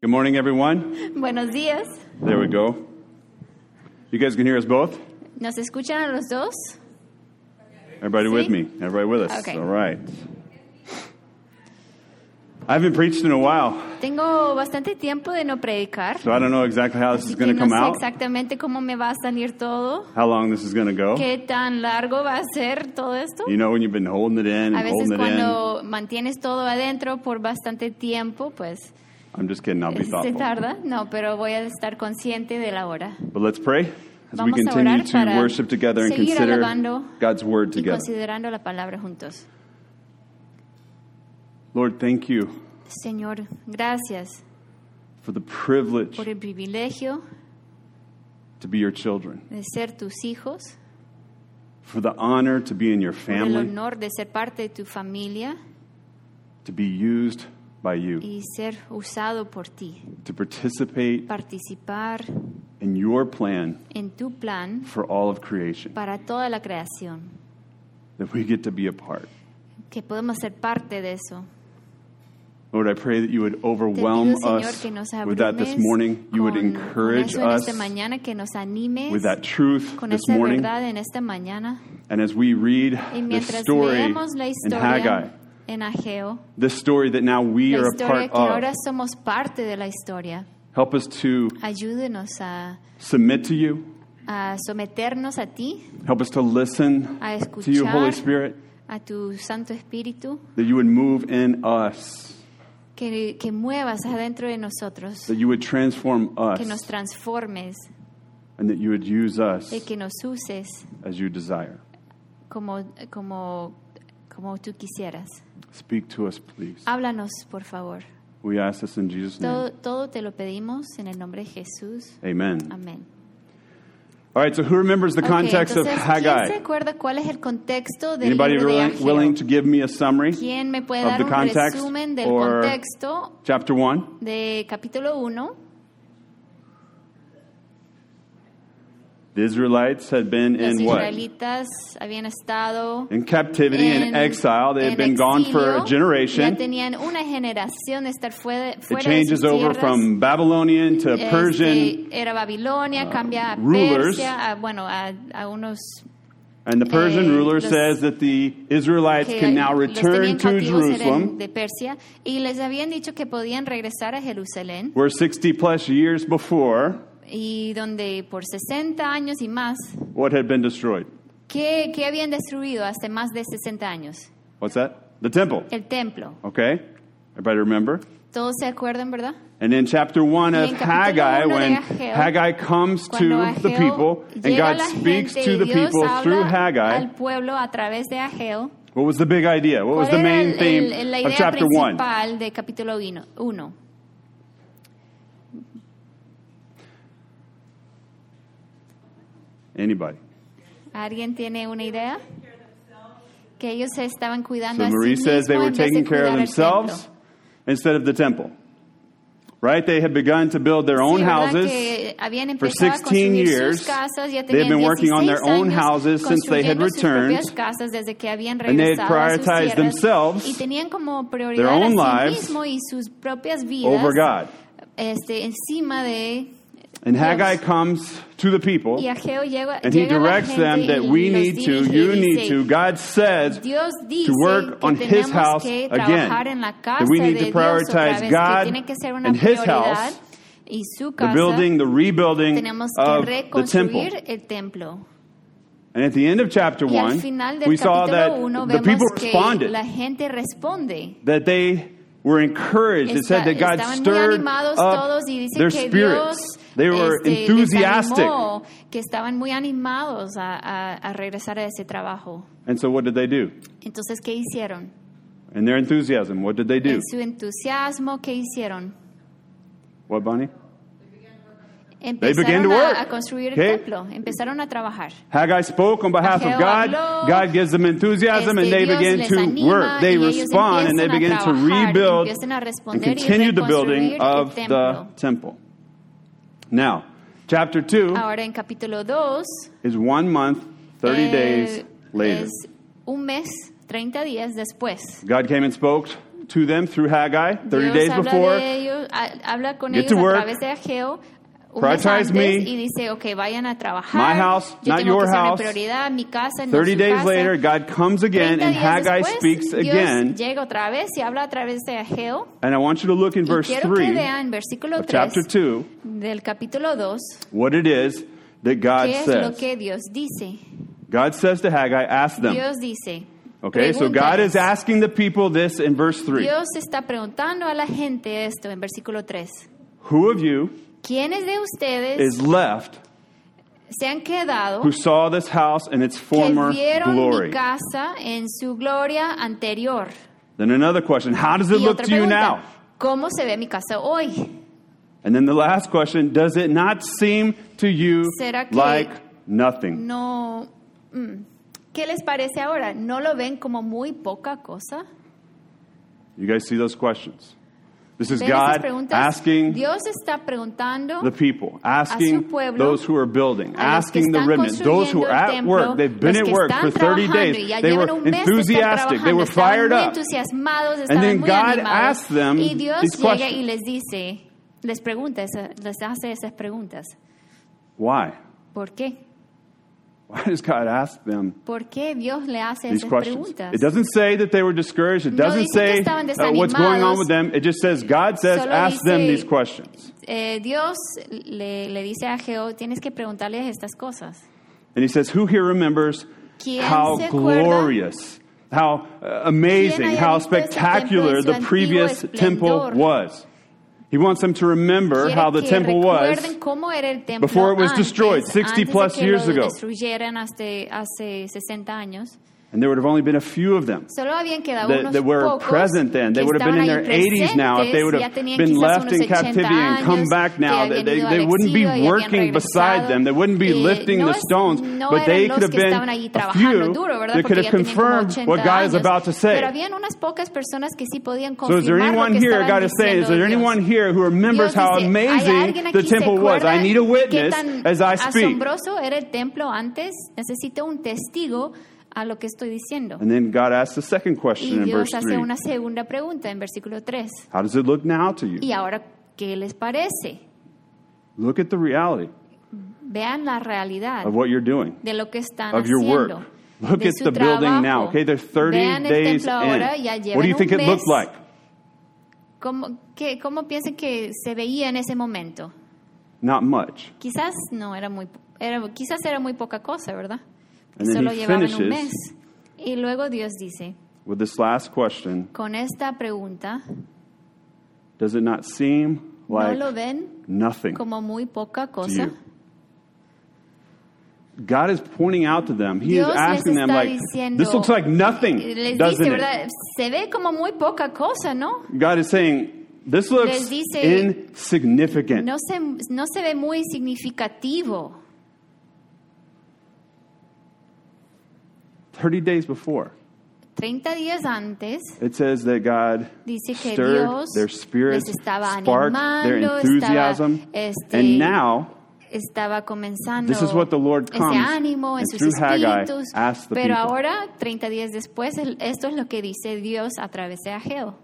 Good morning, everyone. Buenos días. There we go. You guys can hear us both? ¿Nos escuchan a los dos? Everybody with See? me? Everybody with us? Okay. All right. I haven't preached in a while, Tengo bastante tiempo de no predicar. so I don't know exactly how this is así going que to no come sé out, exactamente cómo me va a salir todo. how long this is going to go. ¿Qué tan largo va a ser todo esto? You know, when you've been holding it in and A veces holding it in. cuando mantienes todo adentro por bastante tiempo, pues eh, I'm just kidding. I'll be se thoughtful. tarda. No, pero voy a estar consciente de la hora. But let's pray as we Vamos a continue orar to para worship together and seguir consider alabando God's word Y together. considerando la palabra juntos. Lord, thank you Señor, gracias for the privilege por el privilegio to be your children, de ser tus hijos, for the honor to be in your por el family, honor de ser parte de tu familia to be used by you, y ser usado por ti. to participate participar in your plan en tu plan for all of creation, para toda la creación, that we get to be a part. que podemos ser parte de eso. Lord, I pray that you would Te overwhelm pido, Señor, us que nos with that this abrumes morning. You would con, con encourage eso en us esta mañana, que nos animes with that truth con this esa morning. verdad en esta mañana. And as we read Y this mientras story leemos la in historia Haggai, en Ageo, this story that now we la are a historia part que ahora of, somos parte de la historia, help us to ayúdenos a, submit to you, a someternos a ti, help us to listen a to you, Holy escuchar Spirit, a tu Santo Espíritu, that you would move in us, que, que muevas adentro de nosotros. that you would transform que nos us, transformes and that you would use us y que nos uses as you desire. como, como, como tú quisieras. Speak to us, please. Háblanos, por favor. We ask this in Jesus' Todo, name. todo te lo pedimos en el nombre de Jesús. Amen. Amén. All right, so who remembers the Ok, context of entonces, ¿Quién se Haggai? acuerda cuál es el contexto del Anybody libro de really Ageo? willing to give me a summary? ¿Quién me puede of dar the un context resumen del or- contexto Chapter 1. de capítulo 1? The Israelites had been Los in what? israelitas habían estado In captivity, in exile. They had en been gone for exilio. a Ya generation. tenían una generación de estar fuera, It fuera de sus changes over tierras. from Babylonian to Este, Persian, uh, era Babilonia, cambia a rulers. Persia, a, bueno, a, a unos and the Persian eh, ruler los- says that the Israelites que can now los tenían return to cautivos, eran Jerusalem, de Persia, y les habían dicho que podían regresar a Jerusalén, where 60 plus years before, y donde por 60 años y más, what had been destroyed? ¿qué, qué habían destruido hace más de 60 años? What's that? The temple. El templo. Okay? Everybody remember? Todos se acuerdan, ¿verdad? And in chapter 1 Y of en capítulo Haggai, uno de when Ageo, Haggai comes Cuando to the Ageo people and llega a God la speaks gente to y the Dios people habla through Haggai, al pueblo a través de Ageo, what was the big idea? What was the ¿Cuál era main el- theme el- la of idea chapter 1? principal de capítulo 1? Anybody? ¿Alguien tiene una idea? Que ellos se estaban cuidando So a sí Marie says they mismos were en vez de taking care of cuidar al themselves templo. instead of the temple. Right? They had begun to build their own Sí, ¿verdad? houses. Que habían for empezado a 16 construir years. sus casas, ya They had tenían been working on 16 their own años houses since they had construyendo sus propias returned. casas desde que habían And they had regresado a sus prioritized tierras. themselves, y tenían como their prioridad a own sí lives, mismo y sus propias vidas over God. este, encima de And Dios. Haggai comes to the people Y Ageo llega, and he llega a la directs them gente that y we los need to, dirige y you dice, need to. God says Dios dice to work que on his tenemos house que again. trabajar en la casa That we need de to Dios otra prioritize vez, God que tiene que ser una and his prioridad house, y su the casa. building, the rebuilding tenemos que of the temple. reconstruir el templo. And at the end of chapter Y al 1, final del we saw that capítulo 1 the people vemos que responded, la gente responde. that they were encouraged. It said Esta- that God estaban muy stirred animados up todos y dice their que spirits. Dios They were este, les enthusiastic. animó, que estaban muy animados a, a- a regresar a ese trabajo. And so what did they do? Entonces, ¿qué hicieron? In their enthusiasm, what did they do? En su entusiasmo, ¿qué hicieron? What, Bonnie? began Empezaron to a- work. A, construir Okay. el templo, empezaron a trabajar. Haggai spoke on behalf of Ageo God. habló. God gives them enthusiasm Este, and they Dios begin les to anima work. They y ellos respond and they empiezan a begin to trabajar, rebuild empiezan a and responder y continue the reconstruir building el of the templo. temple. Now, chapter 2 Ahora en capítulo eh, 2, is one month, 30 days later. es un mes, 30 días después. God came and spoke to them through Haggai 30 Dios days habla before. de ellos, ha- habla con Get ellos to work. a través de Ageo. un mes Prioritize antes me. y dice, ok, vayan a trabajar. My house, Yo not tengo your que ser mi house. prioridad, mi casa, no 30 su days casa. later, God comes 30 again and días Haggai después, speaks Dios again. llega otra vez y habla a través de Ageo. And I want you to look in Y verse quiero que 3 vean versículo of chapter 2 3 del capítulo 2 what it is that God qué es lo says. que Dios dice. God says to Haggai, ask them. Dios dice, Okay, so God is "Pregúntales". asking the people this in verse 3 Dios está preguntando a la gente esto en versículo 3. Who of you ¿Quiénes de ustedes is left se han quedado who saw this house in its que former vieron mi glory? casa en su gloria anterior? Then another question How does it Y look otra to you pregunta, now? ¿cómo se ve mi casa hoy? And then the last question Does it not seem to you ¿Será que- like nothing? No, mm, ¿qué les parece ahora? ¿No lo ven como muy poca cosa? You guys see those questions? This is ¿Ven esas God preguntas? asking Dios está preguntando the people, su asking pueblo, those who are building, a los que asking the están remnant, those who construyendo are el at templo, work. They've been los at que work for están 30 trabajando days. y ya They llevan were un mes que están enthusiastic. They were trabajando, fired estaban muy up. entusiasmados, And estaban then muy God animados. asked them y Dios these llega questions. y les dice, les pregunta, esa- les hace esas preguntas. Why? ¿Por qué? Why does God ask them ¿Por qué Dios le hace these esas questions? preguntas? It doesn't say that they were discouraged. It No doesn't dice say que estaban uh, what's going on desanimados. with them. It just says God says, Solo ask them dice- these questions. Eh, Dios le, le dice a Geo, tienes que preguntarles estas cosas. And he says, Who here remembers ¿Quién se how acuerda? glorious, how uh, amazing, ¿Quién haya how visto ese spectacular templo the en su previous antiguo temple esplendor? was? He wants them to remember Quiere how the que temple was. recuerden cómo era el templo before it was antes, destroyed, 60 antes de plus que years lo ago. destruyeran hace, hace 60 años. And there would have only been a few of them Solo habían quedado that, unos that were pocos present then. They que would have been in estaban their ahí 80s now. If they would presentes, have ya tenían been quizás left unos in 80 captivity and come años, back now, que they, habían they, ido they al wouldn't be exilio y habían working beside regresado. them. They wouldn't be Eh, lifting no the es- stones. no but eran they los could have que been estaban allí a trabajando few duro, ¿verdad? that could Porque have ya tenían como confirmed 80 what God is años. about to say. Pero habían unas pocas personas que sí podían So is there confirmar lo anyone que here, estaban God is saying, is diciendo there Dios. anyone here who remembers Dios how dice, "¿Hay amazing alguien aquí the que se temple was? I acuerda need a qué witness tan as I speak. Asombroso era el templo antes. Necesito un testigo a lo que estoy diciendo. And then God asks the second Y question in verse Dios hace 3. una segunda pregunta en versículo 3. How does it look now to you? Y ahora, ¿qué les parece? Look at the reality Vean la realidad of what you're doing. de lo que están of your haciendo. work. Look de at su the building trabajo. now. Okay, they're 30 Vean el days templo ahora, in. ya llevan What do you un think it mes. looked like? ¿Cómo, qué- ¿Cómo piensan que se veía en ese momento? Not much. Quizás no era muy, era, quizás era muy poca cosa, ¿verdad? And then Solo he llevaban un finishes- mes. Y luego Dios dice, With this last question, con esta pregunta, does it not seem like ¿no lo ven nothing como muy poca to cosa? you? God is pointing out to them. He Dios is les asking them, está like, diciendo- this looks like nothing, Les doesn't dice, it? ¿verdad? Se ve como muy poca cosa, ¿no? God is saying, this looks Les dice- insignificant. No se, no se ve muy significativo. 30 days before, 30 días antes it says that God dice que stirred Dios their spirits, les estaba sparked their animando, enthusiasm, estaba, este, and now estaba comenzando This is what the Lord comes ese ánimo en and sus through Haggai espíritus. asks the Pero people. ahora, 30 días después, el- esto es lo que dice Dios a través de Ageo.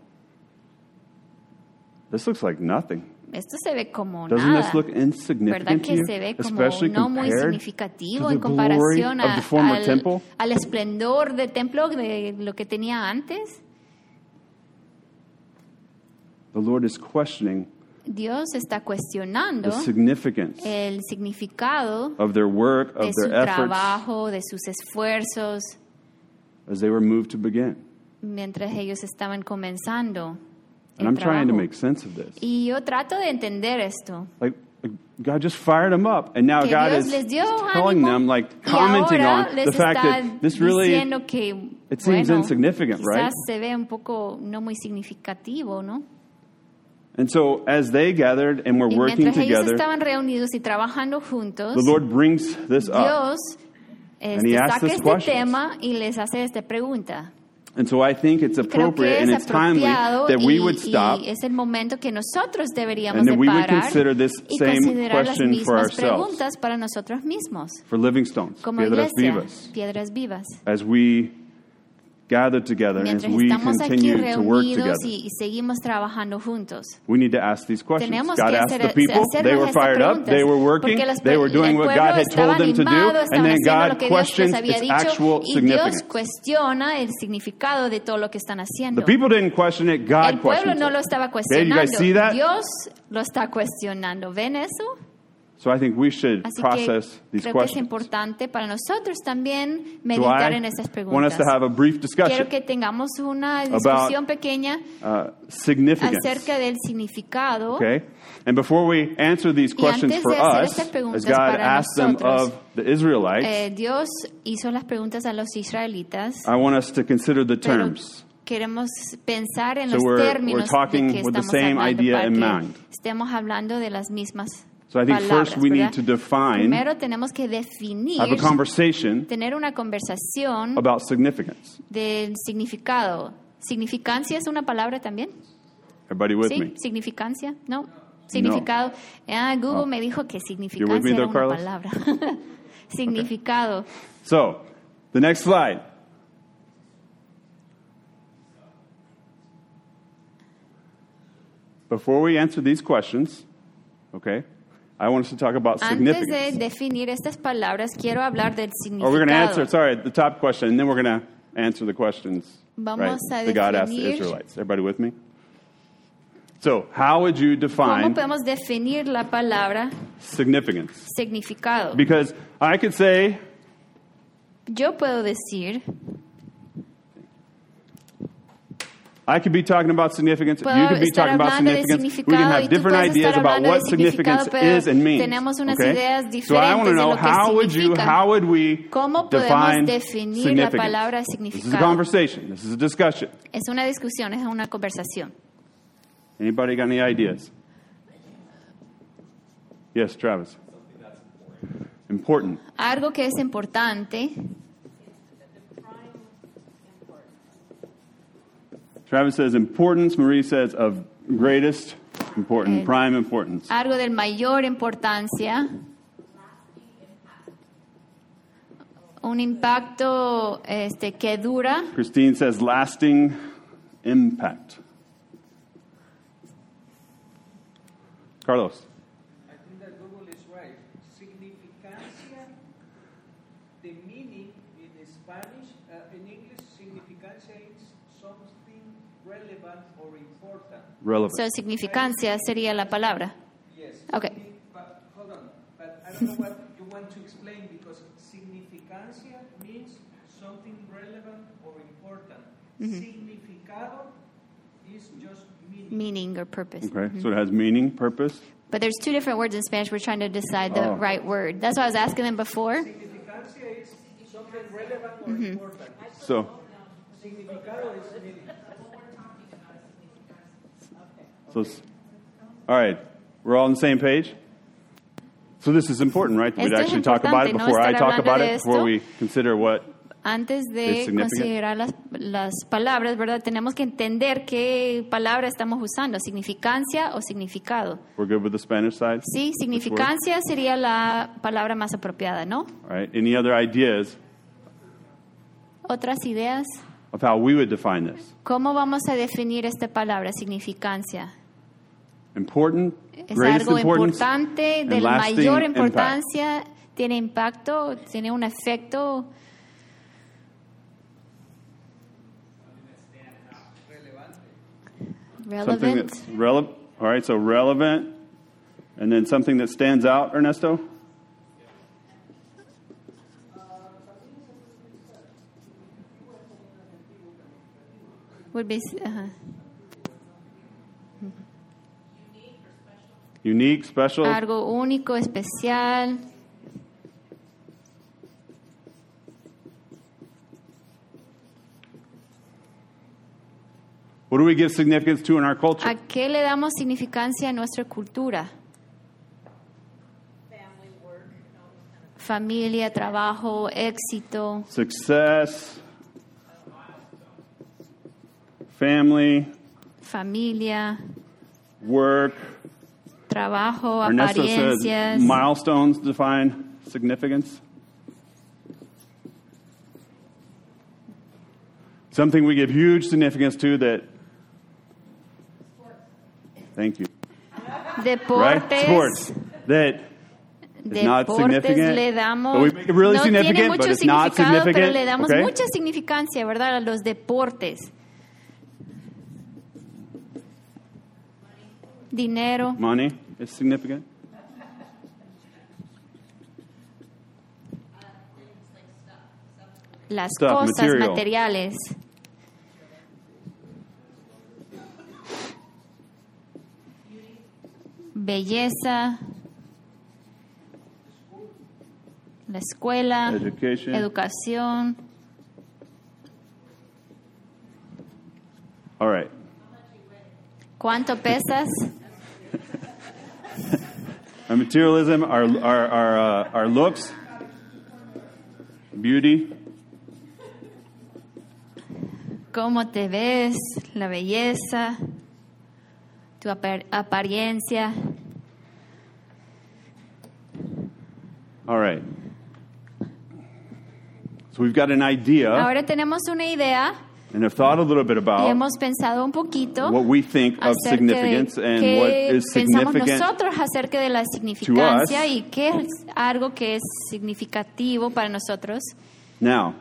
This looks like nothing. Esto se ve como Doesn't nada. this look ¿Verdad insignificant to que you? se ve como Especially no muy compared significativo to en the glory comparación of a- the former temple? al, al esplendor del templo de lo que tenía antes? The Lord is questioning Dios está cuestionando the significance el significado of their work, eh, de of su their efforts trabajo, de sus esfuerzos, as they were moved to begin. mientras ellos estaban comenzando. And el I'm trying to trabajo. make sense of this. Y yo trato de entender esto. Like God just fired them up, and now Que God Dios is les dio telling ánimo them, like y commenting ahora on les the fact that está this really diciendo que, it seems bueno, insignificant, quizás right? se ve un poco no muy significativo, ¿no? And so, as they gathered and were Y working mientras ellos together, estaban reunidos y trabajando juntos, the Lord brings this up. Dios he este, asks saca us este questions. tema y les hace esta pregunta. And so, I think it's Creo appropriate que es and it's timely apropiado that we y, would stop y es el momento que nosotros deberíamos And de then we would parar consider this y same considerar las question for mismas ourselves. preguntas para nosotros mismos, for living stones, como piedras iglesia, vivas, piedras vivas. as we gathered together and as Mientras we estamos aquí continue to work reunidos together. y, y seguimos trabajando juntos. We need to ask these questions. Tenemos God que asked hacer, the people, hacernos they were esas fired up, preguntas, they were working, porque los pe- they were doing el what pueblo God had estaba told them to animado, do, and estaban then haciendo lo God que Dios questions les había its dicho, actual y significance. Dios cuestiona el significado de todo lo que están haciendo. The people didn't question it, el God pueblo questioned no lo it. estaba Okay, you cuestionando. guys see that? Dios lo está cuestionando. ¿Ven eso? So I think we should Así que process these creo que es questions. importante para nosotros también So meditar I en estas want us preguntas. to have a brief Quiero discussion, que tengamos una discusión pequeña uh, significance. acerca del significado. Okay? And before we answer these Y antes questions de for hacer us, estas preguntas as God para asked them nosotros, of the Israelites, Eh, Dios hizo las preguntas a los israelitas. I want us to consider the pero Uh, terms. Queremos pensar en So los we're- we're términos talking de que with the estamos same hablando idea para in que mind. estemos hablando de las mismas So I think palabras. first we need ¿verdad? to define- Primero tenemos que Have a definir, conversation tener una conversación about significance. del significado. ¿Significancia es una palabra también? Everybody with ¿Sí? me? ¿Significancia? No. Significado. Ah, Google me dijo que significancia Oh. with me era though, una Carlos? palabra. significado. So, the next slide. Before we answer these questions, okay, I want us to talk about Antes de significance. definir estas palabras, quiero hablar del Or we're going to answer, significado. sorry, the top question, and then we're going to answer the questions right, Vamos a that God asked the definir- Israelites. Everybody with me? So, how would you ¿Cómo define podemos definir la palabra significance? significado? Because I could say, Yo puedo decir, I could be talking about significance. you puedo could be estar talking about hablando de significance. We can significado y have tú different puedes ideas estar about hablando de what significado, significance pero is and means. tenemos unas okay? ideas so I diferentes want to de know lo que how would you, significa. how would we ¿Cómo define podemos definir significance? la palabra This is a significado? conversation. This is a discussion. Es una discusión, es una conversación. Anybody got any ideas? Yes, Travis. Important. Algo que es importante, Travis says importance. Marie says of greatest Eh, important, prime importance. algo de mayor importancia, un impacto este, que dura, Christine says lasting impact. Carlos. I think that Google is right. Significancia, the meaning in Spanish, uh, in English, significancia is something relevant or important. Relevant. so, significancia sería la palabra. Yes. Okay. signi- But hold on. But I don't know what you want to explain because significancia means something relevant or important. Significado is just meaning. meaning or purpose. okay, so it has meaning, purpose. But there's two different words in Spanish. We're trying to decide the Oh. right word. That's why I was asking them before. Significancia is something relevant or important. So, Significado is meaning. so s- all right, we're all on the same page. So this is important, right? We'd Esto es actually talk about it importante, no before I estar talk about hablando it, de before esto. we consider what. Antes ¿Es de significant? considerar las, las palabras, ¿verdad? Tenemos que entender qué palabra estamos usando, significancia o significado. We're good with the Spanish side. Sí, Which word? significancia sería la palabra más apropiada, ¿no? All right. Any other ideas Otras ideas. of how we would define this? ¿Cómo vamos a definir esta palabra, significancia? Important, Es greatest algo importance, importante, and de la lasting mayor impact. importancia, tiene impacto, tiene un efecto Something relevant, that's relevant. All right, so relevant, and then something that stands out, Ernesto. would be, ajá. Unique, special. algo único, especial, What do we give significance to in our culture? ¿A qué le damos significancia a nuestra cultura? Familia, trabajo, éxito, Success, family, familia, work. trabajo, Ernesto apariencias. says milestones define significance. Something we give huge significance to that. Thank you. Right? Sports. Deportes. That is not Deportes significant. le damos. But we make it really no tiene significant, mucho but it's not significado, pero significant. le damos okay? mucha significancia, ¿verdad? A los deportes. Dinero. Money is significant. las Stuff, cosas material. materiales. Belleza. La escuela. Education. Educación. All right. ¿Cuánto pesas? Our materialism, our, our, our, uh, our looks, beauty, ¿Cómo te ves? La belleza. Tu apar- apariencia. All right. So we've got an idea Ahora tenemos una idea and have thought a little bit y about hemos pensado un poquito. Ah. what we think of acerca de significance and what qué is pensamos significant. nosotros acerca de la significancia us. y qué es algo que es significativo para nosotros. Now,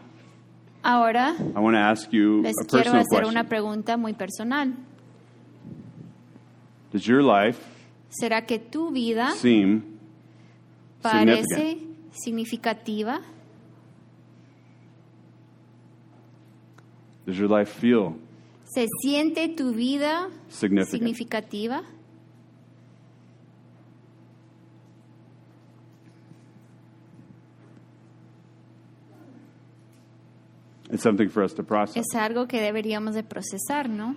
Ahora I want to ask you les a quiero personal hacer question. una pregunta muy personal. Does your life ¿Será que tu vida seem ¿Ah? parece significativa? does your life feel ¿Se siente tu vida significant? significativa? It's something for us to process. Es algo que deberíamos de procesar, ¿no?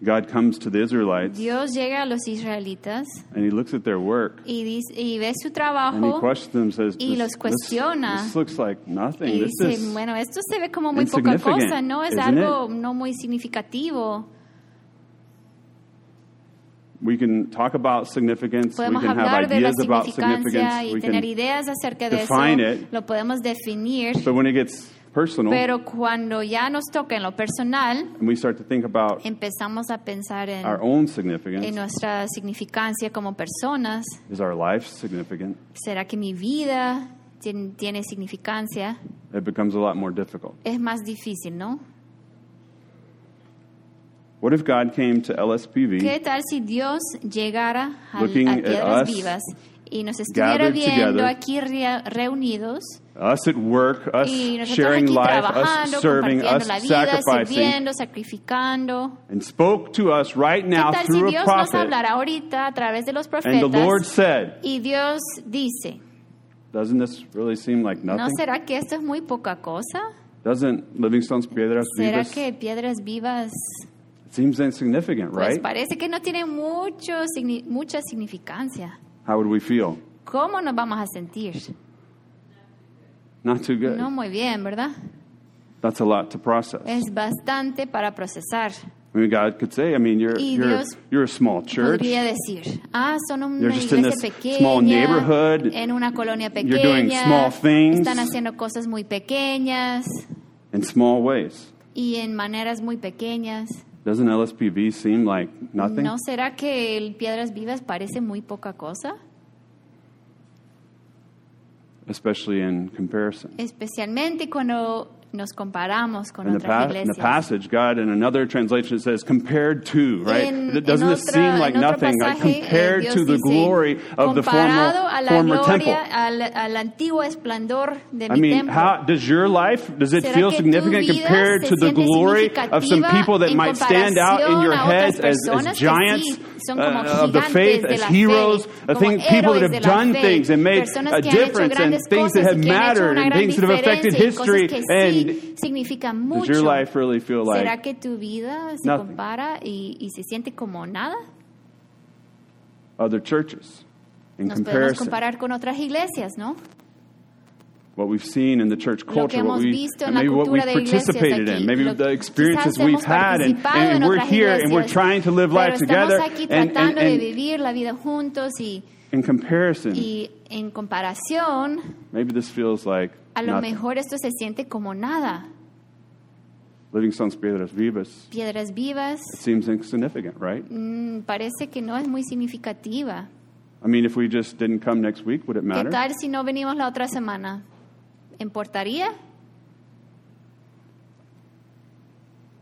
God comes to the Israelites Dios llega a los israelitas and he looks at their work y, dice- y ve su and he trabajo questions them says, y los this, this, cuestiona. this looks like nothing. Y This dice, is bueno, esto se ve como muy poca insignificant, cosa, ¿no? Es isn't algo no muy significativo. We can talk about significance. We Podemos can have hablar de la ideas about significancia significance. y We tener can, ideas acerca de eso. define it. Lo podemos definir. but when it gets personal and Pero cuando ya nos toca en lo personal, we start to think about empezamos a pensar en, our own en significance, nuestra significancia como personas. is our life significant? ¿Será que mi vida tien- tiene significancia? It becomes a lot more difficult. Es más difícil, ¿no? What if God came to ¿Qué LSPV tal si Dios llegara al- Looking a at piedras us, vivas y nos estuviera gathered viendo together, aquí rea- reunidos us at work, us y nosotros sharing aquí life, trabajando, us serving, compartiendo us la vida, sacrificing, sirviendo, sacrificando? and spoke to us right ¿Qué now tal si through a Dios nos prophet? hablara ahorita a través de los And the Lord profetas said, y Dios dice, Doesn't this really seem like ¿no nothing? será que esto es muy poca cosa? Doesn't Livingstone's Piedras ¿Será Vivas? que piedras vivas It seems insignificant, pues right? parece que no tiene mucho, signi- mucha significancia? How would we feel? ¿Cómo nos vamos a sentir? Not too good. No muy bien, ¿verdad? That's a lot to process. es bastante para procesar. I mean, God could say, I mean, you're, Y you're, Dios you're a small church. Podría decir, ah, son una They're just in iglesia this pequeña, small neighborhood. en una colonia You're pequeña, doing small things. están haciendo cosas muy pequeñas In small ways. y en maneras muy pequeñas. Doesn't LSPV seem like nothing? ¿No será que el Piedras Vivas parece muy poca cosa? Especially in comparison. Especialmente cuando nos comparamos con In the, pa- otras in the iglesias. passage, God, in another translation, it says, compared to, right? En- It- Doesn't en this otra- seem like en otro nothing? Like, pasaje, eh, compared Dios to the dice, glory of the "Comparado a former, la former gloria, temple. Al, al antiguo esplendor de I mi mean, templo. how does your life does it ¿Será feel que tu significant vida compared se to the siente glory of some significativa people that en might stand out in your comparación a otras heads as, personas as que giants sí son como uh, of the gigantes faith, de as la fe, heroes, I como think people that héroes de have la done fe, things and made personas a que han hecho difference and grandes things that cosas have y que han hecho mattered una and gran things that have affected diferencia y cosas history. que And sí significan does your mucho. life really feel ¿Será like que tu vida se nothing? compara y, y se siente como nada? other churches in Nos podemos comparison? comparar con otras iglesias, ¿no? what we've seen in the church Lo culture, que what hemos we, visto en and la maybe what cultura we've de iglesias de participated aquí, in, maybe lo- the experiences quizás hemos we've had, and, participado en and we're otras here and we're iglesias, trying to live life pero together. Estamos aquí And, and, tratando de and vivir la vida juntos y, in comparison, y en comparación, maybe this feels like a lo nothing. mejor esto se siente como nada. Living Songs Piedras Vivas Piedras vivas seems insignificant, right? mm, parece que no es muy significativa. I mean, if we just didn't come next week, would it ¿Qué matter? tal si no venimos la otra semana? ¿Importaría?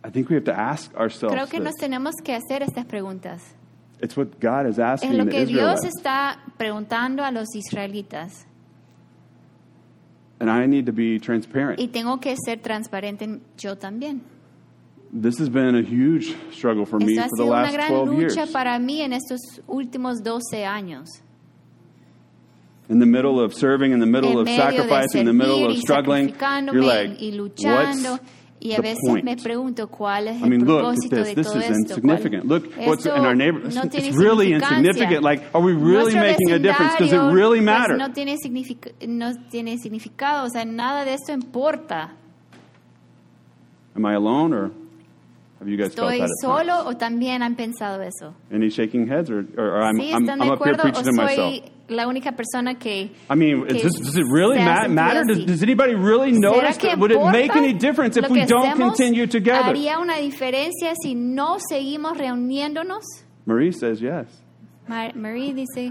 I think we have to ask ourselves Creo que this. nos tenemos que hacer estas preguntas. It's what God is asking Es lo the que Dios Israelites. está preguntando a los israelitas. And I need to be transparent. Y tengo que ser transparente en- yo también. This has been a huge struggle for me Esto ha for the sido una last gran 12 years. lucha para mí en estos últimos 12 años. In the middle of serving, in the middle En of medio de sacrificing, in the middle servir of y struggling, you're sacrificándome like, y luchando. what's Y a the veces point? me pregunto cuál es el I mean, look at propósito this. de This todo is esto. ¿Cuál- insignificant. Look what's Esto in our neighborhood. no tiene It's really significancia. insignificant. Like, are we really Nuestro making a difference? Does it vecindario, really pues, matter? No tiene, signific- no tiene significado. O sea, nada de esto importa. Am I alone, or have you guys felt ¿Estoy that? at times? solo o también han pensado eso? Any shaking heads, or, or, or I'm, ¿Sí? I'm, ¿Están I'm de up here acuerdo o preaching to myself? soy la única persona que... I mean, que is this, does it really se ma- ha sentido matter? Does, así? does anybody really ¿Será notice? que That? Would it importa make any difference if lo we que don't hacemos? continue together? ¿Haría una diferencia si no seguimos reuniéndonos? Marie says yes. Ma- Marie dice...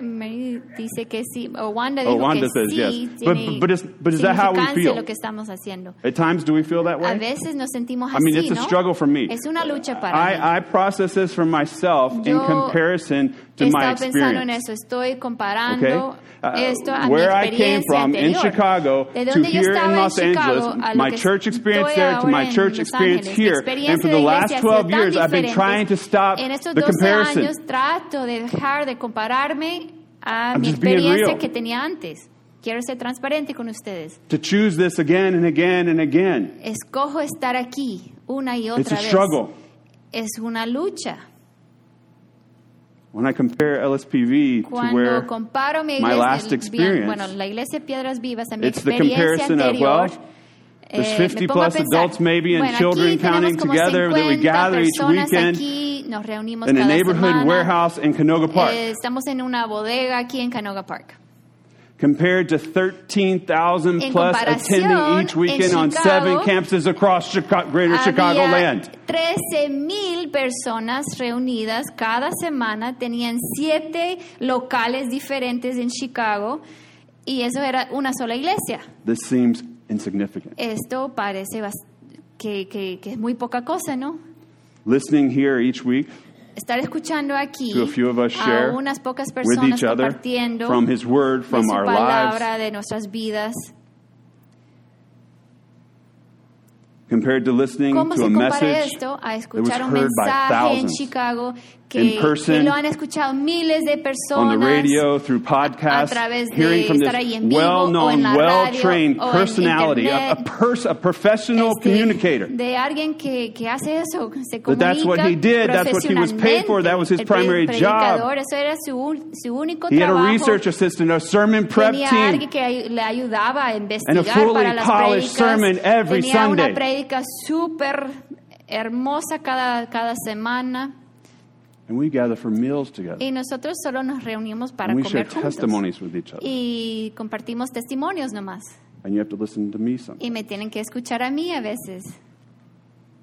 Marie dice que sí, o Wanda Oh, dijo Wanda que says sí, yes. But- tiene but- but is- but is that how we significancia feel? lo que estamos haciendo. At times, do we feel that A way? veces nos sentimos I mean, así, it's a ¿no? struggle for me. Es una lucha para mí. I, I process this for myself in Yo comparison He to my estado pensando en experience. eso, estoy Okay? comparando Uh, esto a where mi I experiencia came from in anterior. Chicago de to donde yo here estaba in en Los Chicago, Angeles, a lo my que church experience estoy there to ahora my en church Los experience Ángeles. here. Experiencia And for de the last iglesia ha sido 12 tan years, I've been diferente. trying to stop En estos the 12 comparison. años trato de dejar de compararme a I'm mi just being experiencia real. que tenía antes. Quiero ser transparente con ustedes. to choose this again and again and again. Escojo estar aquí una y It's a otra vez. struggle. Es una lucha. When I compare LSPV to Cuando where comparo mi my iglesia, last bien, experience, bueno, la iglesia Piedras Vivas, a mi it's the experiencia comparison of, anterior, well, there's eh, 50 me pongo a plus pensar, adults maybe and bueno, children aquí tenemos counting como together that we 50 gather each personas weekend aquí, nos reunimos in a cada neighborhood semana. warehouse in Canoga Park, Eh, estamos en una bodega aquí en Canoga Park. compared to 13,000 plus En comparación, attending each en weekend on seven Chicago, campuses across Chica- greater Chicago Había land. 13 mil personas reunidas cada semana, tenían siete locales diferentes en Chicago y eso era una sola iglesia. This seems insignificant. Esto parece bas- que, que- que es muy poca cosa, ¿no? Listening here each week Estar escuchando aquí to a few of us a share unas pocas with personas each other compartiendo from His Word, de from su our lives, palabra, de nuestras vidas. compared to listening to ¿Cómo a se compara message esto a was escuchar un heard by mensaje en thousands, Chicago in que, person, que lo han escuchado miles de on the personas radio, through a podcasts, través de hearing from estar ahí this en vivo well o known, en la well radio trained o en personality, a, a, internet? pers- a professional Este, communicator. De alguien que, que hace eso, que se But comunica that's what he did, that's what he was paid for, that was his profesionalmente. El primary predicador, Eso era su, un- su único He had a trabajo. research assistant, a sermon prep Tenía team. alguien que ay- le ayudaba a investigar fully para las polished prédicas. sermon every Tenía Sunday. una prédica súper hermosa cada, cada semana. And we gather for meals together. Y nosotros solo nos reunimos para And we share comer juntos. testimonies with each other. Y compartimos testimonios nomás. And you have to listen to me sometimes. Y me tienen que escuchar a mí a veces.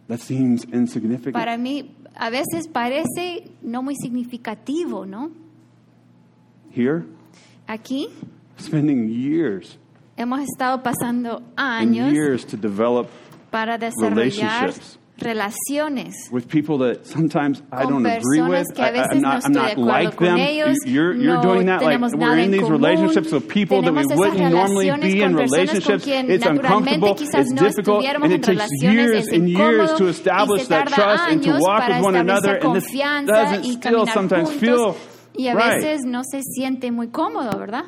That seems insignificant. Para mí, a veces parece no muy significativo, ¿no? Here, Aquí spending years hemos estado pasando and años years to develop para desarrollar relationships. relaciones with people that sometimes I con don't agree personas with. que a I, veces am not, no I'm estoy de not acuerdo like con them. ellos. You're, you're no doing that like tenemos nada we're in en these común. relationships with people that we Tenemos esas wouldn't normally relaciones be in con personas relationships. con quien It's naturalmente uncomfortable, quizás it's no difficult, estuviéramos and en it takes relaciones, years es and years incómodo, to y establish se that tarda trust and to años walk para with one another. establecer And this confianza doesn't y still caminar sometimes feel juntos, y a right veces no se siente muy cómodo, ¿verdad?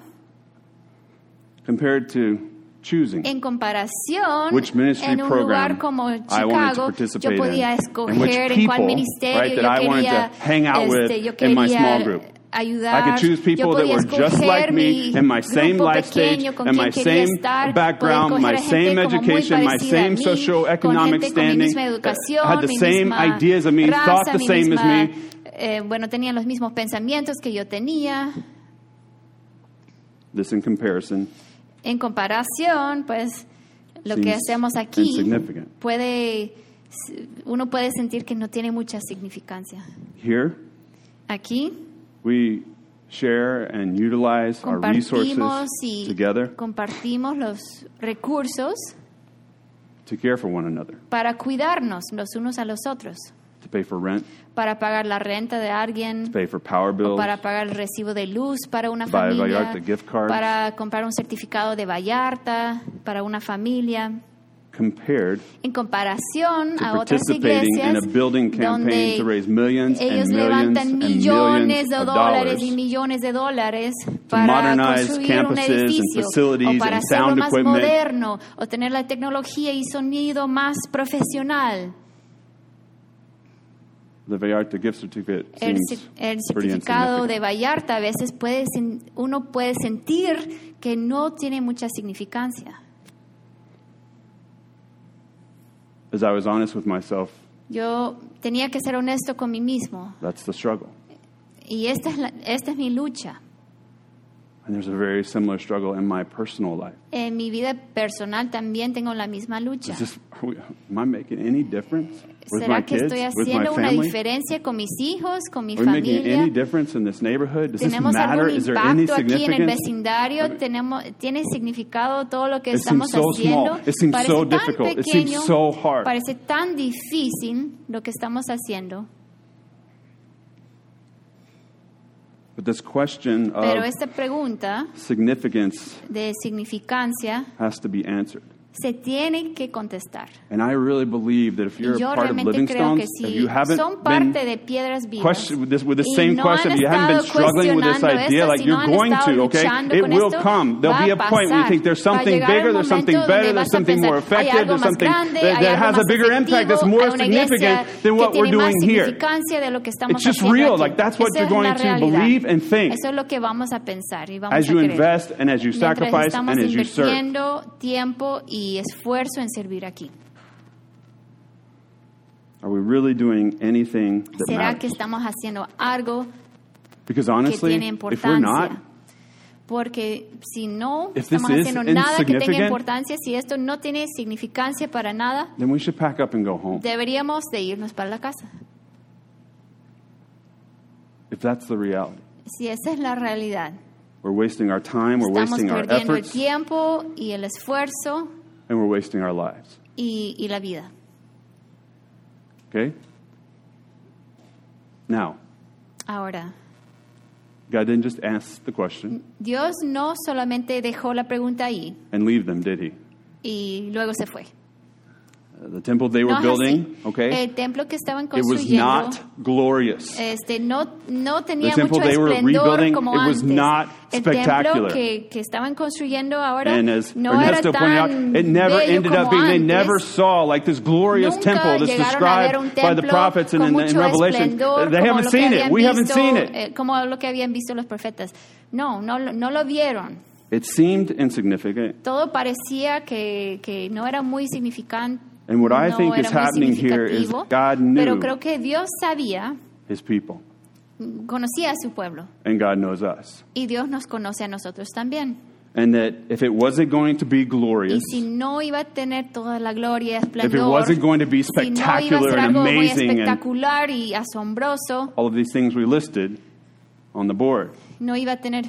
compared to choosing. En comparación, Which ministry en un program lugar como I wanted to Chicago, participate yo podía in, and which escoger en cuál people, ministerio right, yo that I wanted quería, to hang out with este, yo in my quería small group. ayudar. I could choose people Yo that podía were just escoger like me mi in my same grupo life stage pequeño, con and quien my quería same estar. background, Podía my escoger a gente same como muy education, my parecida a same mí, socioeconomic con gente con mi standing misma that educación, had the mi same misma ideas as me, raza, thought the mi same as misma, me. eh, bueno, tenían los mismos pensamientos que yo tenía. This in comparison En comparación, pues lo que Seems hacemos aquí insignificant. puede uno puede sentir que no tiene mucha significancia. here, Aquí we share and utilize our compartimos resources y together compartimos los recursos to care for one another, para cuidarnos los unos a los otros, to pay for rent, para pagar la renta de to alguien, pay for power o bills, para pagar el recibo de luz para una Buy a familia, Vallarta gift card. para comprar un certificado de Vallarta para una familia. compared en comparación to a otras participating in iglesias a building donde campaign to raise millions ellos and millions levantan and millones millions de of dólares dollars y millones de dólares para modernize construir un campuses and edificio o facilities para and hacerlo sound más equipment. moderno o tener la tecnología y sonido más profesional. The Vallarta gift certificate El, seems cer- el pretty certificado de insignificant. Vallarta a veces puede sen- uno puede sentir que no tiene mucha significancia. As I was honest with myself, Yo tenía que ser honesto con mí mismo that's the struggle. y esta es, la- esta es mi lucha. And there's a very similar struggle in my personal life. En mi vida personal también tengo la misma lucha. Is this, are we, am I making any difference with my ¿Será que kids, estoy with my haciendo una family? diferencia con mis hijos, con mi Are we making any familia? difference in this neighborhood? Does this ¿Tenemos matter? algún Is there any impacto aquí en el significance? vecindario? ¿Tenemos, ¿Tiene significado todo lo que It seems estamos so haciendo? small. It seems parece so tan difficult. It seems pequeño, so hard. parece tan difícil lo que estamos haciendo. But this question Pero of esta pregunta significance de significancia has to be answered. se tiene que contestar. And I really believe that if Y you're yo a part of realmente creo Livingstone, que if si you haven't son been parte de Piedras Vivas question with this with the y same no question. han If you haven't been estado struggling with this cuestionando idea, esto, like si no you're han going estado to, okay? luchando It con will esto, come. There'll va be a a point where you pasar. think there's Va a something llegar un bigger, there's something momento donde better, vas there's a something pensar, more hay effective, algo there's más something grande, that, hay that algo has a más bigger impact that's efectivo, hay more una significant iglesia than what que we're tiene más doing here. significancia de lo que estamos It's just haciendo real, aquí. like, that's what Esa you're es la going to realidad. believe and think. Eso es lo que vamos a pensar y vamos As a you creer. invest and as you Mientras sacrifice estamos and as you serve. invirtiendo tiempo y esfuerzo en servir aquí. Are we really doing anything that ¿Será que matters? estamos haciendo algo Because que honestly, tiene if we're not, importancia. Porque si no If this estamos is haciendo nada que tenga insignificant- importancia, si esto no tiene significancia para nada, then we should pack up and go home. deberíamos de irnos para la casa. If that's the reality. Si esa es la realidad, We're wasting our time, we're estamos wasting our perdiendo el efforts, tiempo y el esfuerzo and we're wasting our lives. y, y la vida. Okay? Now, Ahora, God didn't just ask the question Dios no solamente dejó la pregunta ahí and leave them, did he? y luego se fue. Uh, The temple they were No es building, así. okay? El templo que estaban It was construyendo not glorious. este, no, no The tenía temple mucho they were esplendor rebuilding, como it was antes. not el templo spectacular. que, que estaban construyendo ahora And as no Ernesto era pointed out, tan it never bello ended como up being, they antes. never saw like this glorious Nunca temple that's llegaron a ver described un by the templo prophets and con in, in mucho Revelation. esplendor, They como haven't lo que seen it. habían We haven't visto, seen it. eh, como lo que habían visto los profetas. No, no, lo- no lo vieron. It seemed insignificant. Todo parecía que, que no era muy significante. And what I no think era is muy happening here is significativo, God knew- Pero creo que Dios sabía, His people. conocía a su pueblo. And God knows us. Y Dios nos conoce a nosotros también. And that if it wasn't going to be Y glorious, si no iba a tener toda la gloria, if it esplendor, wasn't going to be si no iba a spectacular ser and algo muy amazing and espectacular y asombroso, all of these things we listed on the board, no iba a tener,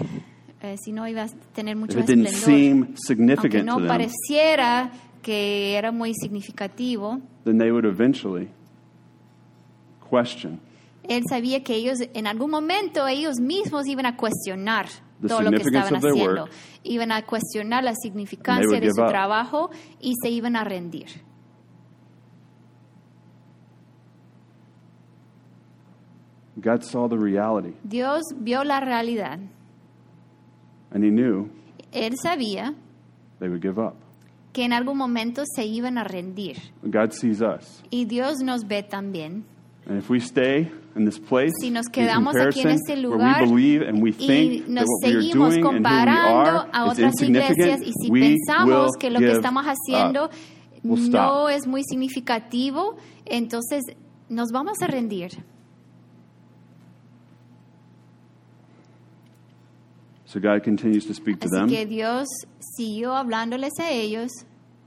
eh, si no iba a tener if mucho it didn't esplendor, seem aunque significant no to them, pareciera que era muy significativo, then they would eventually question él sabía que ellos, en algún momento, ellos mismos iban a cuestionar The todo lo que significance estaban of their haciendo, work. iban a cuestionar la significancia would de su give up. trabajo y se iban a rendir. God saw the reality Dios vio la realidad, and He knew él sabía they would give up. que en algún momento se iban a rendir. God sees us Y Dios nos ve también And if we stay in this place, Si nos in quedamos aquí en comparison, este where lugar, we believe and we y think that nos what we are seguimos doing and who we comparando a are is otras iglesias insignificant, y si we will pensamos que lo que give estamos haciendo up. We'll no stop. es muy significativo, entonces nos vamos a rendir. So God continues to speak to Así them, que Dios siguió hablándoles a ellos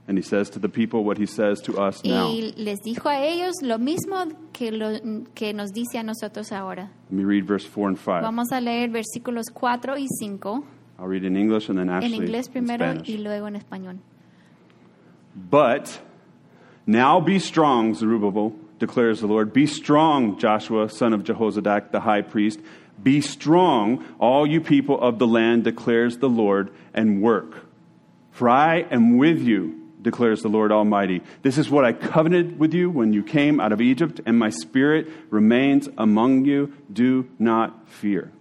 and He says to the people what He says to us now. y les dijo a ellos lo mismo que, lo- que nos dice a nosotros ahora. Let me read verse 4 and 5. Vamos a leer versículos 4 y 5 I'll read in English and then en actually inglés in primero Ah, Spanish. y luego en español. But now be strong, Zerubbabel, declares the Lord. Be strong, Joshua, son of Jehozadak, the high priest. Be strong, all you people of the land, declares the Lord, and work. For I am with you, declares the Lord Almighty. This is what I covenanted with you when you came out of Egypt, and my spirit remains among you. Do not fear.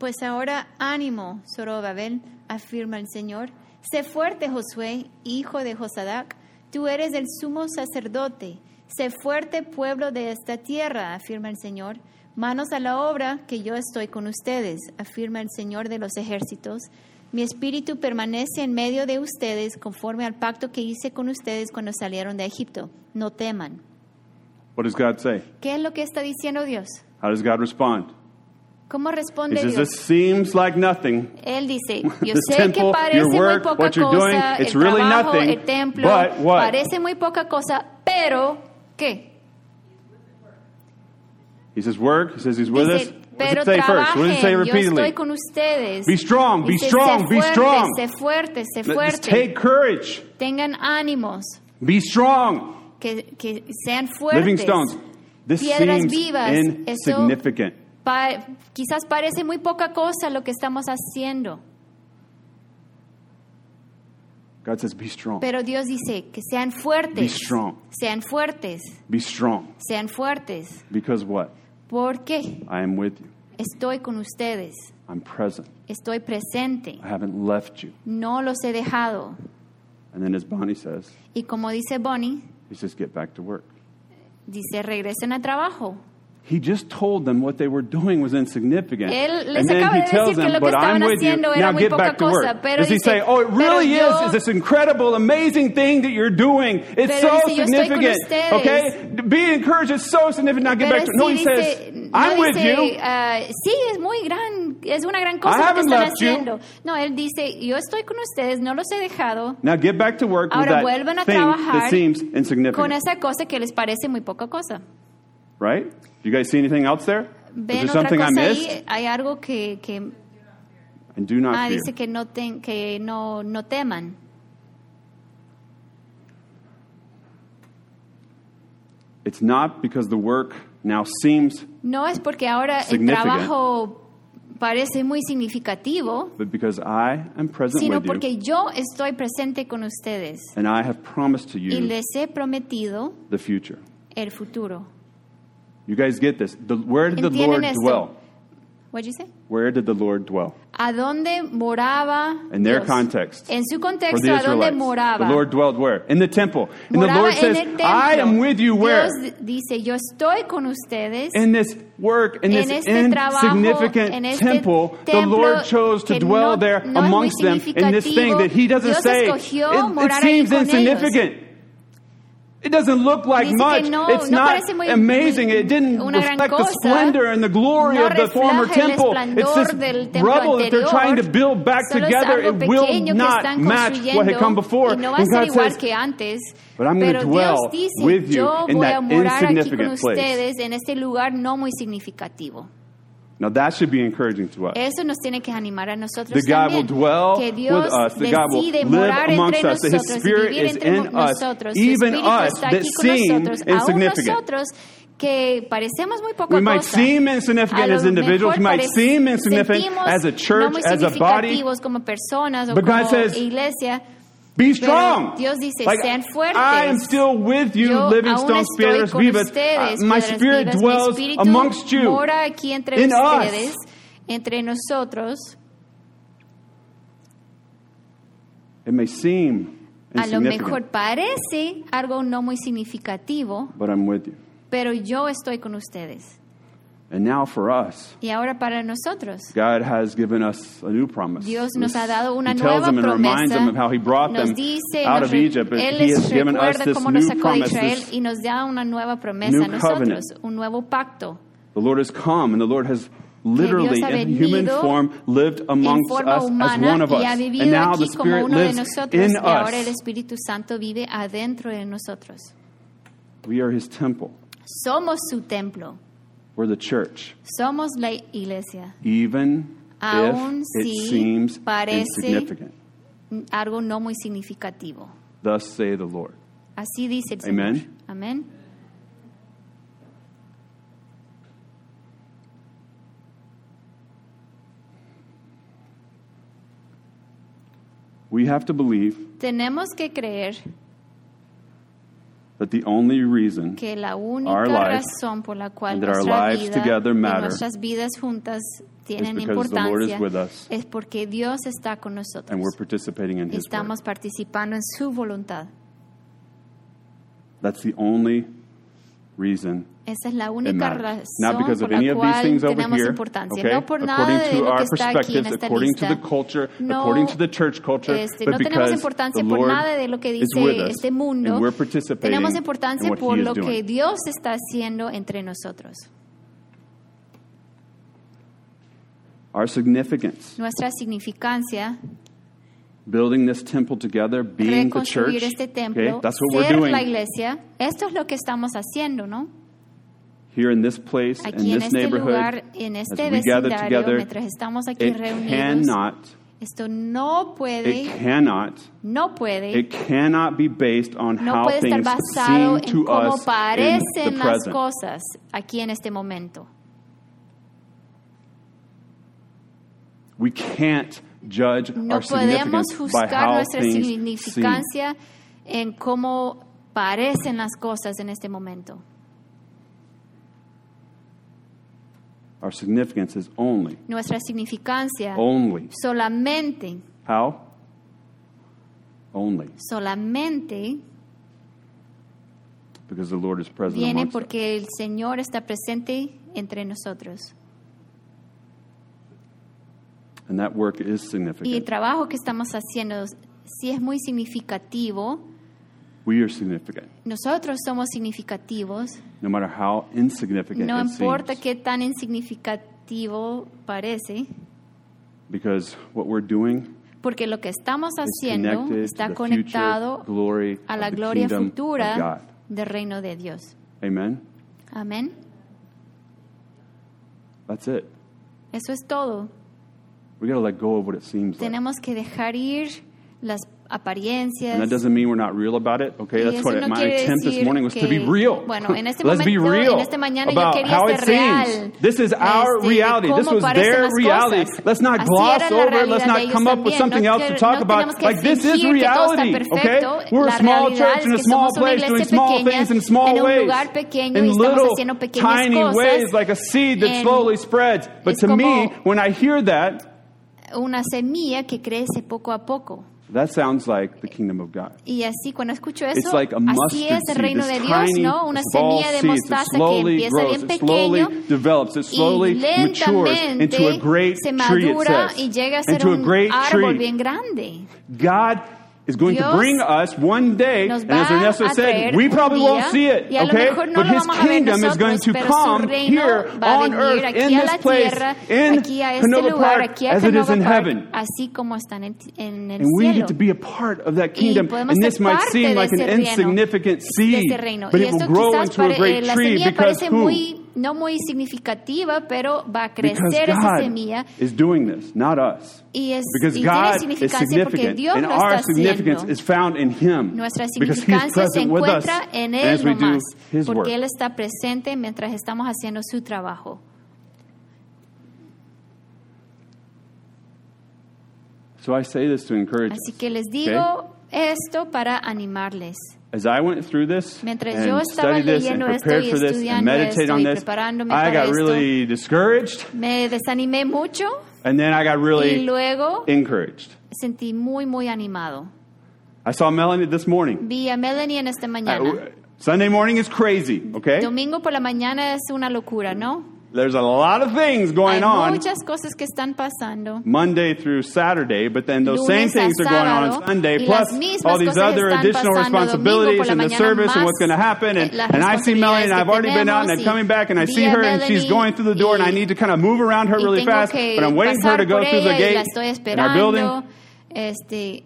Pues ahora ánimo, Zorobabel, afirma el Señor. Sé fuerte, Josué, hijo de Josadac. Tú eres el sumo sacerdote. Sé fuerte, pueblo de esta tierra, afirma el Señor. Manos a la obra, que yo estoy con ustedes, afirma el Señor de los ejércitos. Mi espíritu permanece en medio de ustedes conforme al pacto que hice con ustedes cuando salieron de Egipto. No teman. What does God say? ¿Qué es lo que está diciendo Dios? How does God respond? ¿Cómo He responde says, Dios? This seems like nothing. Él dice, yo This sé que temple, parece your work, muy poca what you're cosa, doing, el it's really trabajo, nothing, el templo, but what? parece muy poca cosa, pero ¿qué? He says, work. He says he's with us. Dice, What does pero it say first? What does it say trabajen, yo estoy repeatedly? con ustedes. Be strong, be Dice, strong, sé be fuerte, strong. Sé fuerte, sé Let's fuerte. take courage. Tengan ánimos, Be strong. que, que sean Living fuertes. stones. This Piedras seems vivas, eso- insignificant. Pa- quizás parece muy poca cosa lo que estamos haciendo, God says, be strong. pero Dios dice que sean fuertes. Be strong. Sean fuertes, Be strong. sean fuertes. Because what? ¿Por qué? I am with you. Estoy con ustedes, I'm present. estoy presente, I haven't left you. no los he dejado. And then as Bonnie says, Y como dice Bonnie, he says, get back to work. dice, regresen al trabajo. He just told them what they were doing was insignificant. Él and les then acaba he de tells decir que them, lo que but I'm estaban with you. haciendo era Now muy get poca back to cosa, work. pero Does he dice, say, oh, it pero really yo- is this incredible, amazing thing that you're doing. It's Pero so dice, "Yo estoy con significant. ustedes." Okay? Be encouraged. It's so significant. Now get Pero back to sí No, he dice, says, no I'm with dice, you. "Ah, sí, es muy gran, es una gran I cosa lo que haven't están left you. haciendo. No, él dice, yo estoy con ustedes, no los he dejado Now get back to work Ahora with vuelvan a that thing that trabajar seems con insignificant. esa cosa que les parece muy poca cosa. right? You guys see anything else there? Is Ven there otra something I cosa missed? ahí, hay algo que, que And do not ah, fear. dice que no ten- que no, no teman. It's not because the work now seems, No es porque ahora el Significant. trabajo parece muy significativo, but because I am present sino with you. porque yo estoy presente con ustedes And I have promised to y you les he prometido the future. el futuro. You guys get this. The, where did the ¿Entienden Lord esto? dwell? What did you say? Where did the Lord dwell? ¿A dónde moraba In their Dios? context. En su For contexto, the ¿a dónde Israelites. The moraba? Lord dwelled where? In the temple. And the moraba Lord says, en el templo. I am with you where? Dios dice, yo estoy con ustedes. In this work, in this en este insignificant trabajo, en este temple, the templo Lord chose to que dwell no- there no es muy amongst them in this thing that He doesn't significativo. Dios say. escogió It, morar it ahí seems con ellos." insignificant. It doesn't look like Dice que much. no- it's no not parece muy- amazing. It didn't una gran reflect the cosa. splendor and the glory No of the former refleja el temple. It's esplendor this del templo rubble that they're anterior. trying to build back Solo es together. algo It will pequeño que not están match what had construyendo come before. Y no va a And ser God igual says, que antes. "But I'm gonna Pero dwell Dios dice, with you yo in voy that a morar aquí con insignificant place." ustedes en este lugar no muy significativo. Now that should be encouraging to us. Eso nos tiene que animar a nosotros That God will también. dwell que with Dios us, that God will live decide morar amongst entre us, that His nosotros, y Spirit vivir is entre in us, nosotros. Su even Espíritu us está that aquí con seem nosotros, aún insignificant. nosotros que parecemos muy poca We might cosa. seem insignificant A as lo individuals, we mejor might parec- seem insignificant sentimos as a no church, muy as a body. significativos como personas o But God como says, iglesia. Be Pero strong. Dios dice, Like, sean fuertes. I am still with you, Yo living aún stones, estoy piedras con vivas. ustedes, Uh, My piedras spirit vivas. Mi dwells espíritu amongst you. Mora aquí entre in us. ustedes, entre nosotros. It may seem A lo mejor insignificant, parece algo no muy significativo, but I'm with you. pero yo estoy con ustedes. And now for us, Y ahora para nosotros, God has given us a new promise. Dios nos ha dado una he tells nueva them and reminds them promesa. of how he brought Nos them dice, out nos of re- Egypt. And Él he has les given us recuerda this cómo nos new sacó de promise. Israel this- y nos da una nueva promesa new a nosotros, covenant. un nuevo pacto the Lord has come, and the Lord has literally, ha in human venido form, lived en amongst forma us as humana one of y ha us. And vivido now the aquí como Spirit uno de lives nosotros y in ahora el us. Espíritu Santo vive adentro de nosotros. We are his temple. Somos su templo, We're the church. somos la iglesia. Even Aun if si it seems parece- insignificant. algo no muy significativo. Thus say the Lord. Así dice el Amen. Señor. Amén. We have to believe Tenemos que creer that the only reason que la Our única life razón por la cual and that our nuestra lives vida together y matter nuestras vidas juntas tienen is because the Lord is importancia with us. es porque Dios está con and we're nosotros. participating in his work. Estamos participando en su voluntad. That's the only reason Esa es la it única matters. razón Not because of por la any of these cual things over tenemos here, importancia. okay? No por nada according de to lo que our está aquí en perspectives, esta according to lista. the culture, no, according to the church culture, este, but no tenemos because importancia the por Lord nada de lo que is with dice us, este mundo. and we're participating Tenemos in importancia what por He lo is doing. que Dios está haciendo entre nosotros. Our significance, Nuestra significancia building this temple together, being the reconstruir church, este templo, okay, that's what we're ser la doing iglesia. Esto es lo que estamos haciendo, ¿no? here in this place, Aquí in en this este neighborhood, lugar, en as este we gather vecindario, together, mientras estamos aquí it reunidos, cannot, esto no it puede, cannot, no puede, it cannot be based on no how puede estar things basado seem en to cómo us in parecen the las present. cosas aquí en este momento. We can't judge No our podemos significance by juzgar how nuestra things seem. significancia en cómo parecen las cosas en este momento. Our significance is only, Nuestra significancia only solamente, how? Only solamente because the Lord is present viene amongst us. porque el Señor está presente entre nosotros. And that work is Y el significant. trabajo que estamos haciendo, si es muy significativo, We are significant, nosotros somos significativos, no matter how insignificant no it importa seems. qué tan insignificativo parece, Because what we're doing porque lo que estamos is haciendo connected to está the future conectado glory a la of the gloria kingdom of futura God. del reino de Dios. Amen? Amén. That's it. Eso es todo. We got to let go of what it seems like. Tenemos que dejar ir las apariencias, And that doesn't mean we're not real about it. Okay, Y that's eso what no my quiere attempt this decir morning was to be que- real. Bueno, en este Let's be momento, real en esta mañana yo about quería how ser it real. seems. This is our este, de reality. This cómo was parecen their las reality. cosas. Let's not Así gloss era la over it. realidad Let's de not ellos come up with también. something No else to quiero- talk no about. tenemos que Like this is fingir que todo está reality. Okay, perfecto. we're a La small realidad church in es a que small somos una place, doing iglesia small pequeña, things in small en un ways, lugar pequeño y in estamos little haciendo pequeñas tiny cosas. ways, like a seed that En- slowly spreads. But es to me, como- when I hear that, Una semilla que crece poco a poco. that sounds like the kingdom of God. Y así, cuando escucho It's eso, like a así mustard es el seed, reino this de Dios, tiny ¿no? Una small semilla de seed that mostaza que slowly empieza grows, bien it slowly pequeño develops, it slowly y matures into a lentamente great se tree, it madura says. y llega a ser Into a un great árbol tree. bien grande. God is going to Dios bring us one day, nos and va as Ernesto a traer said, we probably un won't día, see it, y a lo okay? mejor no but lo His vamos a ver kingdom is nosotros, going to pero su come reino here va a on venir earth, aquí in a this la place, tierra, in aquí a este Canova lugar, Park, aquí a as it is Canova in Park, heaven. así como están en, en el And we cielo. get to be a part of that Y kingdom. podemos And this ser might parte seem de like an ese reino, insignificant de seed, ese reino. but y it will esto grow quizás into a pare- eh, great la tree semilla because parece who? muy, no muy significativa, pero va a because crecer esa God semilla is doing this, not us. y, es, Because y tiene God is significancia porque significant, Dios and lo está our significance haciendo. is found in Him. Nuestra Because He is significancia se present with us encuentra en as Él we do nomás, His work. porque Él está presente mientras estamos haciendo su trabajo. So I say this to encourage Así us, que les okay? digo esto para animarles. As I went through this Mientras yo and estaba studied this and leyendo esto prepared y for this and estudiando meditated esto on y this, preparándome I para got esto, really discouraged me desanimé mucho and then I got y really luego encouraged. sentí muy, muy animado. I saw Melanie this morning. Ah, Vi a Melanie en esta mañana. I- Sunday morning is crazy, okay? Domingo por la mañana es una locura, ¿no? There's a lot of things Hay going on muchas cosas que están pasando. Monday through Saturday, but then those same Lunes a things are going on sábado, on Sunday, y plus las mismas all these cosas other están additional pasando domingo responsibilities por la and the mañana service and más, what's going to happen. And, eh, las and I've seen Melanie and responsabilidades I've que already been out and I'm tenemos coming y back and I see her and she's liability going through the door and I y- need to kind of move around her Y really tengo fast, que but I'm waiting for her pasar to go por through the ella y la gate estoy in our building. esperando. Este,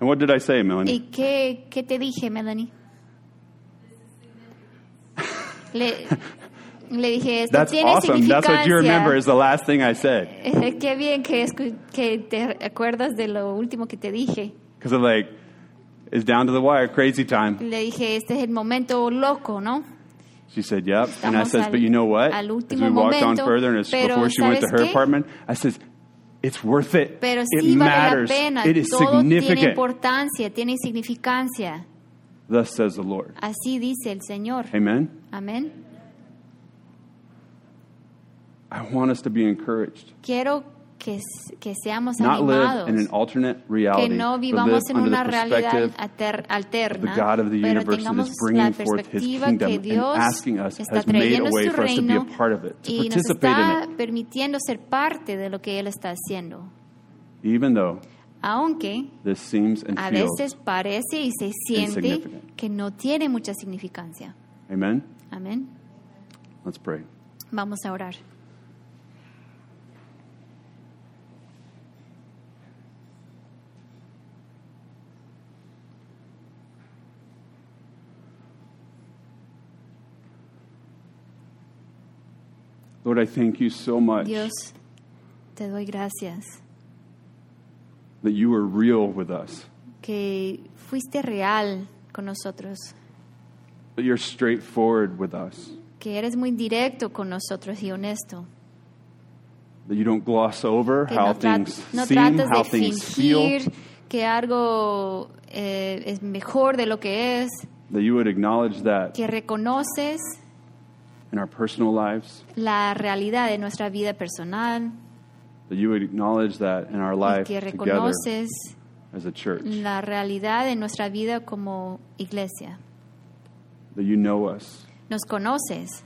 And what did I say, ¿Y Melanie? qué, qué te dije, Melanie? Le, le dije, esto That's tiene awesome. That's what you remember is significancia. the last thing I said. Qué bien que, escu- que te acuerdas de lo último que te dije. Because I'm like, it's down to the wire, crazy time. Le dije, este es el momento loco, ¿no? She said, "Yep." And I Estamos says, al- "But you know what?" As al we último walked on momento, further, and it's pero before she went to ¿sabes her qué? apartment, I says, "It's worth it. Pero it sí vale la matters. pena. It is Todo tiene significant." importancia, tiene significancia. Thus says the Lord. Así dice el Señor. Amen. Amén. I want us to be encouraged, Quiero que, s- que seamos not animados. live in an alternate que reality, no but live vivamos en under una the realidad perspective ater- of the alterna, God of the pero universe that tengamos is la bringing forth His perspectiva kingdom que and Dios asking us, está has made a trayendo way su for us to be a reino part of it, to y nos participate in está it. permitiendo ser parte de lo que Él está haciendo. even though Aunque this seems and a feels. veces parece y se siente Insignificant. que no tiene mucha significancia. Amen. Amén. Let's pray. Vamos a orar. Lord, I thank you so much Dios, te doy gracias that you were real with us, que fuiste real con nosotros, that you're straightforward with us. que eres muy directo con nosotros y honesto. that you don't gloss over que how no, tra- things no seem, tratas how de things feel, fingir que algo eh, es mejor de lo que es, that you would acknowledge that que reconoces in our personal lives, la realidad de nuestra vida personal that you would acknowledge that in our y life que together reconoces as a church, la realidad de nuestra vida como iglesia. that you know us Nos conoces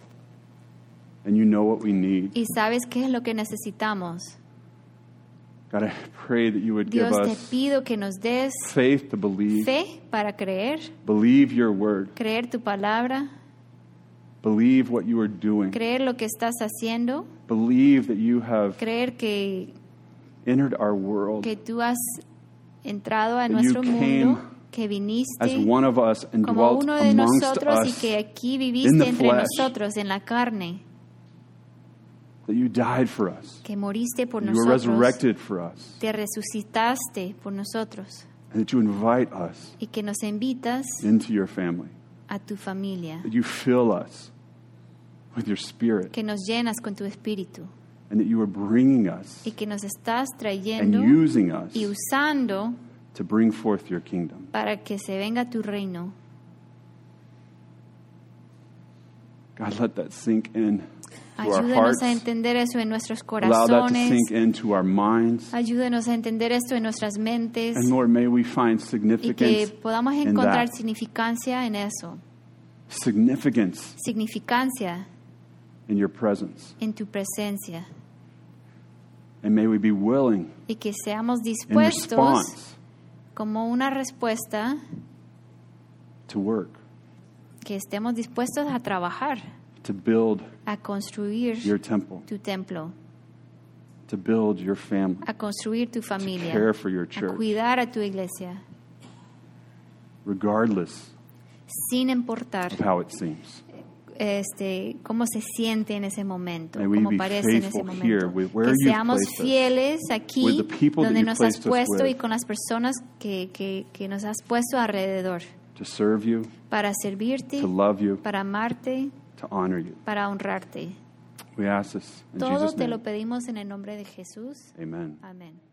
and you know what we need. y sabes qué es lo que necesitamos. God, I pray that you would give Dios, te us pido que nos des faith to believe, fe para creer, believe your word, creer tu palabra, believe what you are doing, creer lo que estás haciendo, believe that you have creer que entered our world que tú has entrado a That nuestro you came mundo, que as viniste one of us and como dwelt uno de amongst nosotros y us, que aquí in the viviste entre flesh. nosotros en la carne, that you died for us, que moriste por you were nosotros, resurrected for us, te resucitaste por nosotros and that you invite us. y que nos invitas into your family. a tu familia, That you fill us with your spirit que nos llenas con tu espíritu and that you are bringing us y que nos estás and trayendo using us y usando to bring forth your kingdom. para que se venga tu reino. God, let that sink in to our Ayúdanos hearts. a entender eso en nuestros Allow that to corazones. sink into our minds. Ayúdanos a entender esto en nuestras mentes. And Lord, may we find y que significance podamos in encontrar that. significancia en eso, Significance significancia in your presence. en tu presencia And may we be willing y que seamos in dispuestos response como una respuesta to work, que estemos dispuestos a trabajar, to build a construir your temple, tu templo, to build your family, a construir tu to familia, care for your a church, cuidar a tu iglesia, regardless sin importar of how it seems. este, cómo se siente en ese momento, May we cómo be parece en ese faithful here momento. with where Que you've seamos placed us, fieles aquí with the people that donde you've nos has placed us puesto y with. con las personas que, que- que nos has puesto alrededor to serve you, para servirte, to love you, para amarte, to honor you. para honrarte. We ask this in Todo Jesus' te lo name. pedimos en el nombre de Jesús. Amen. Amén.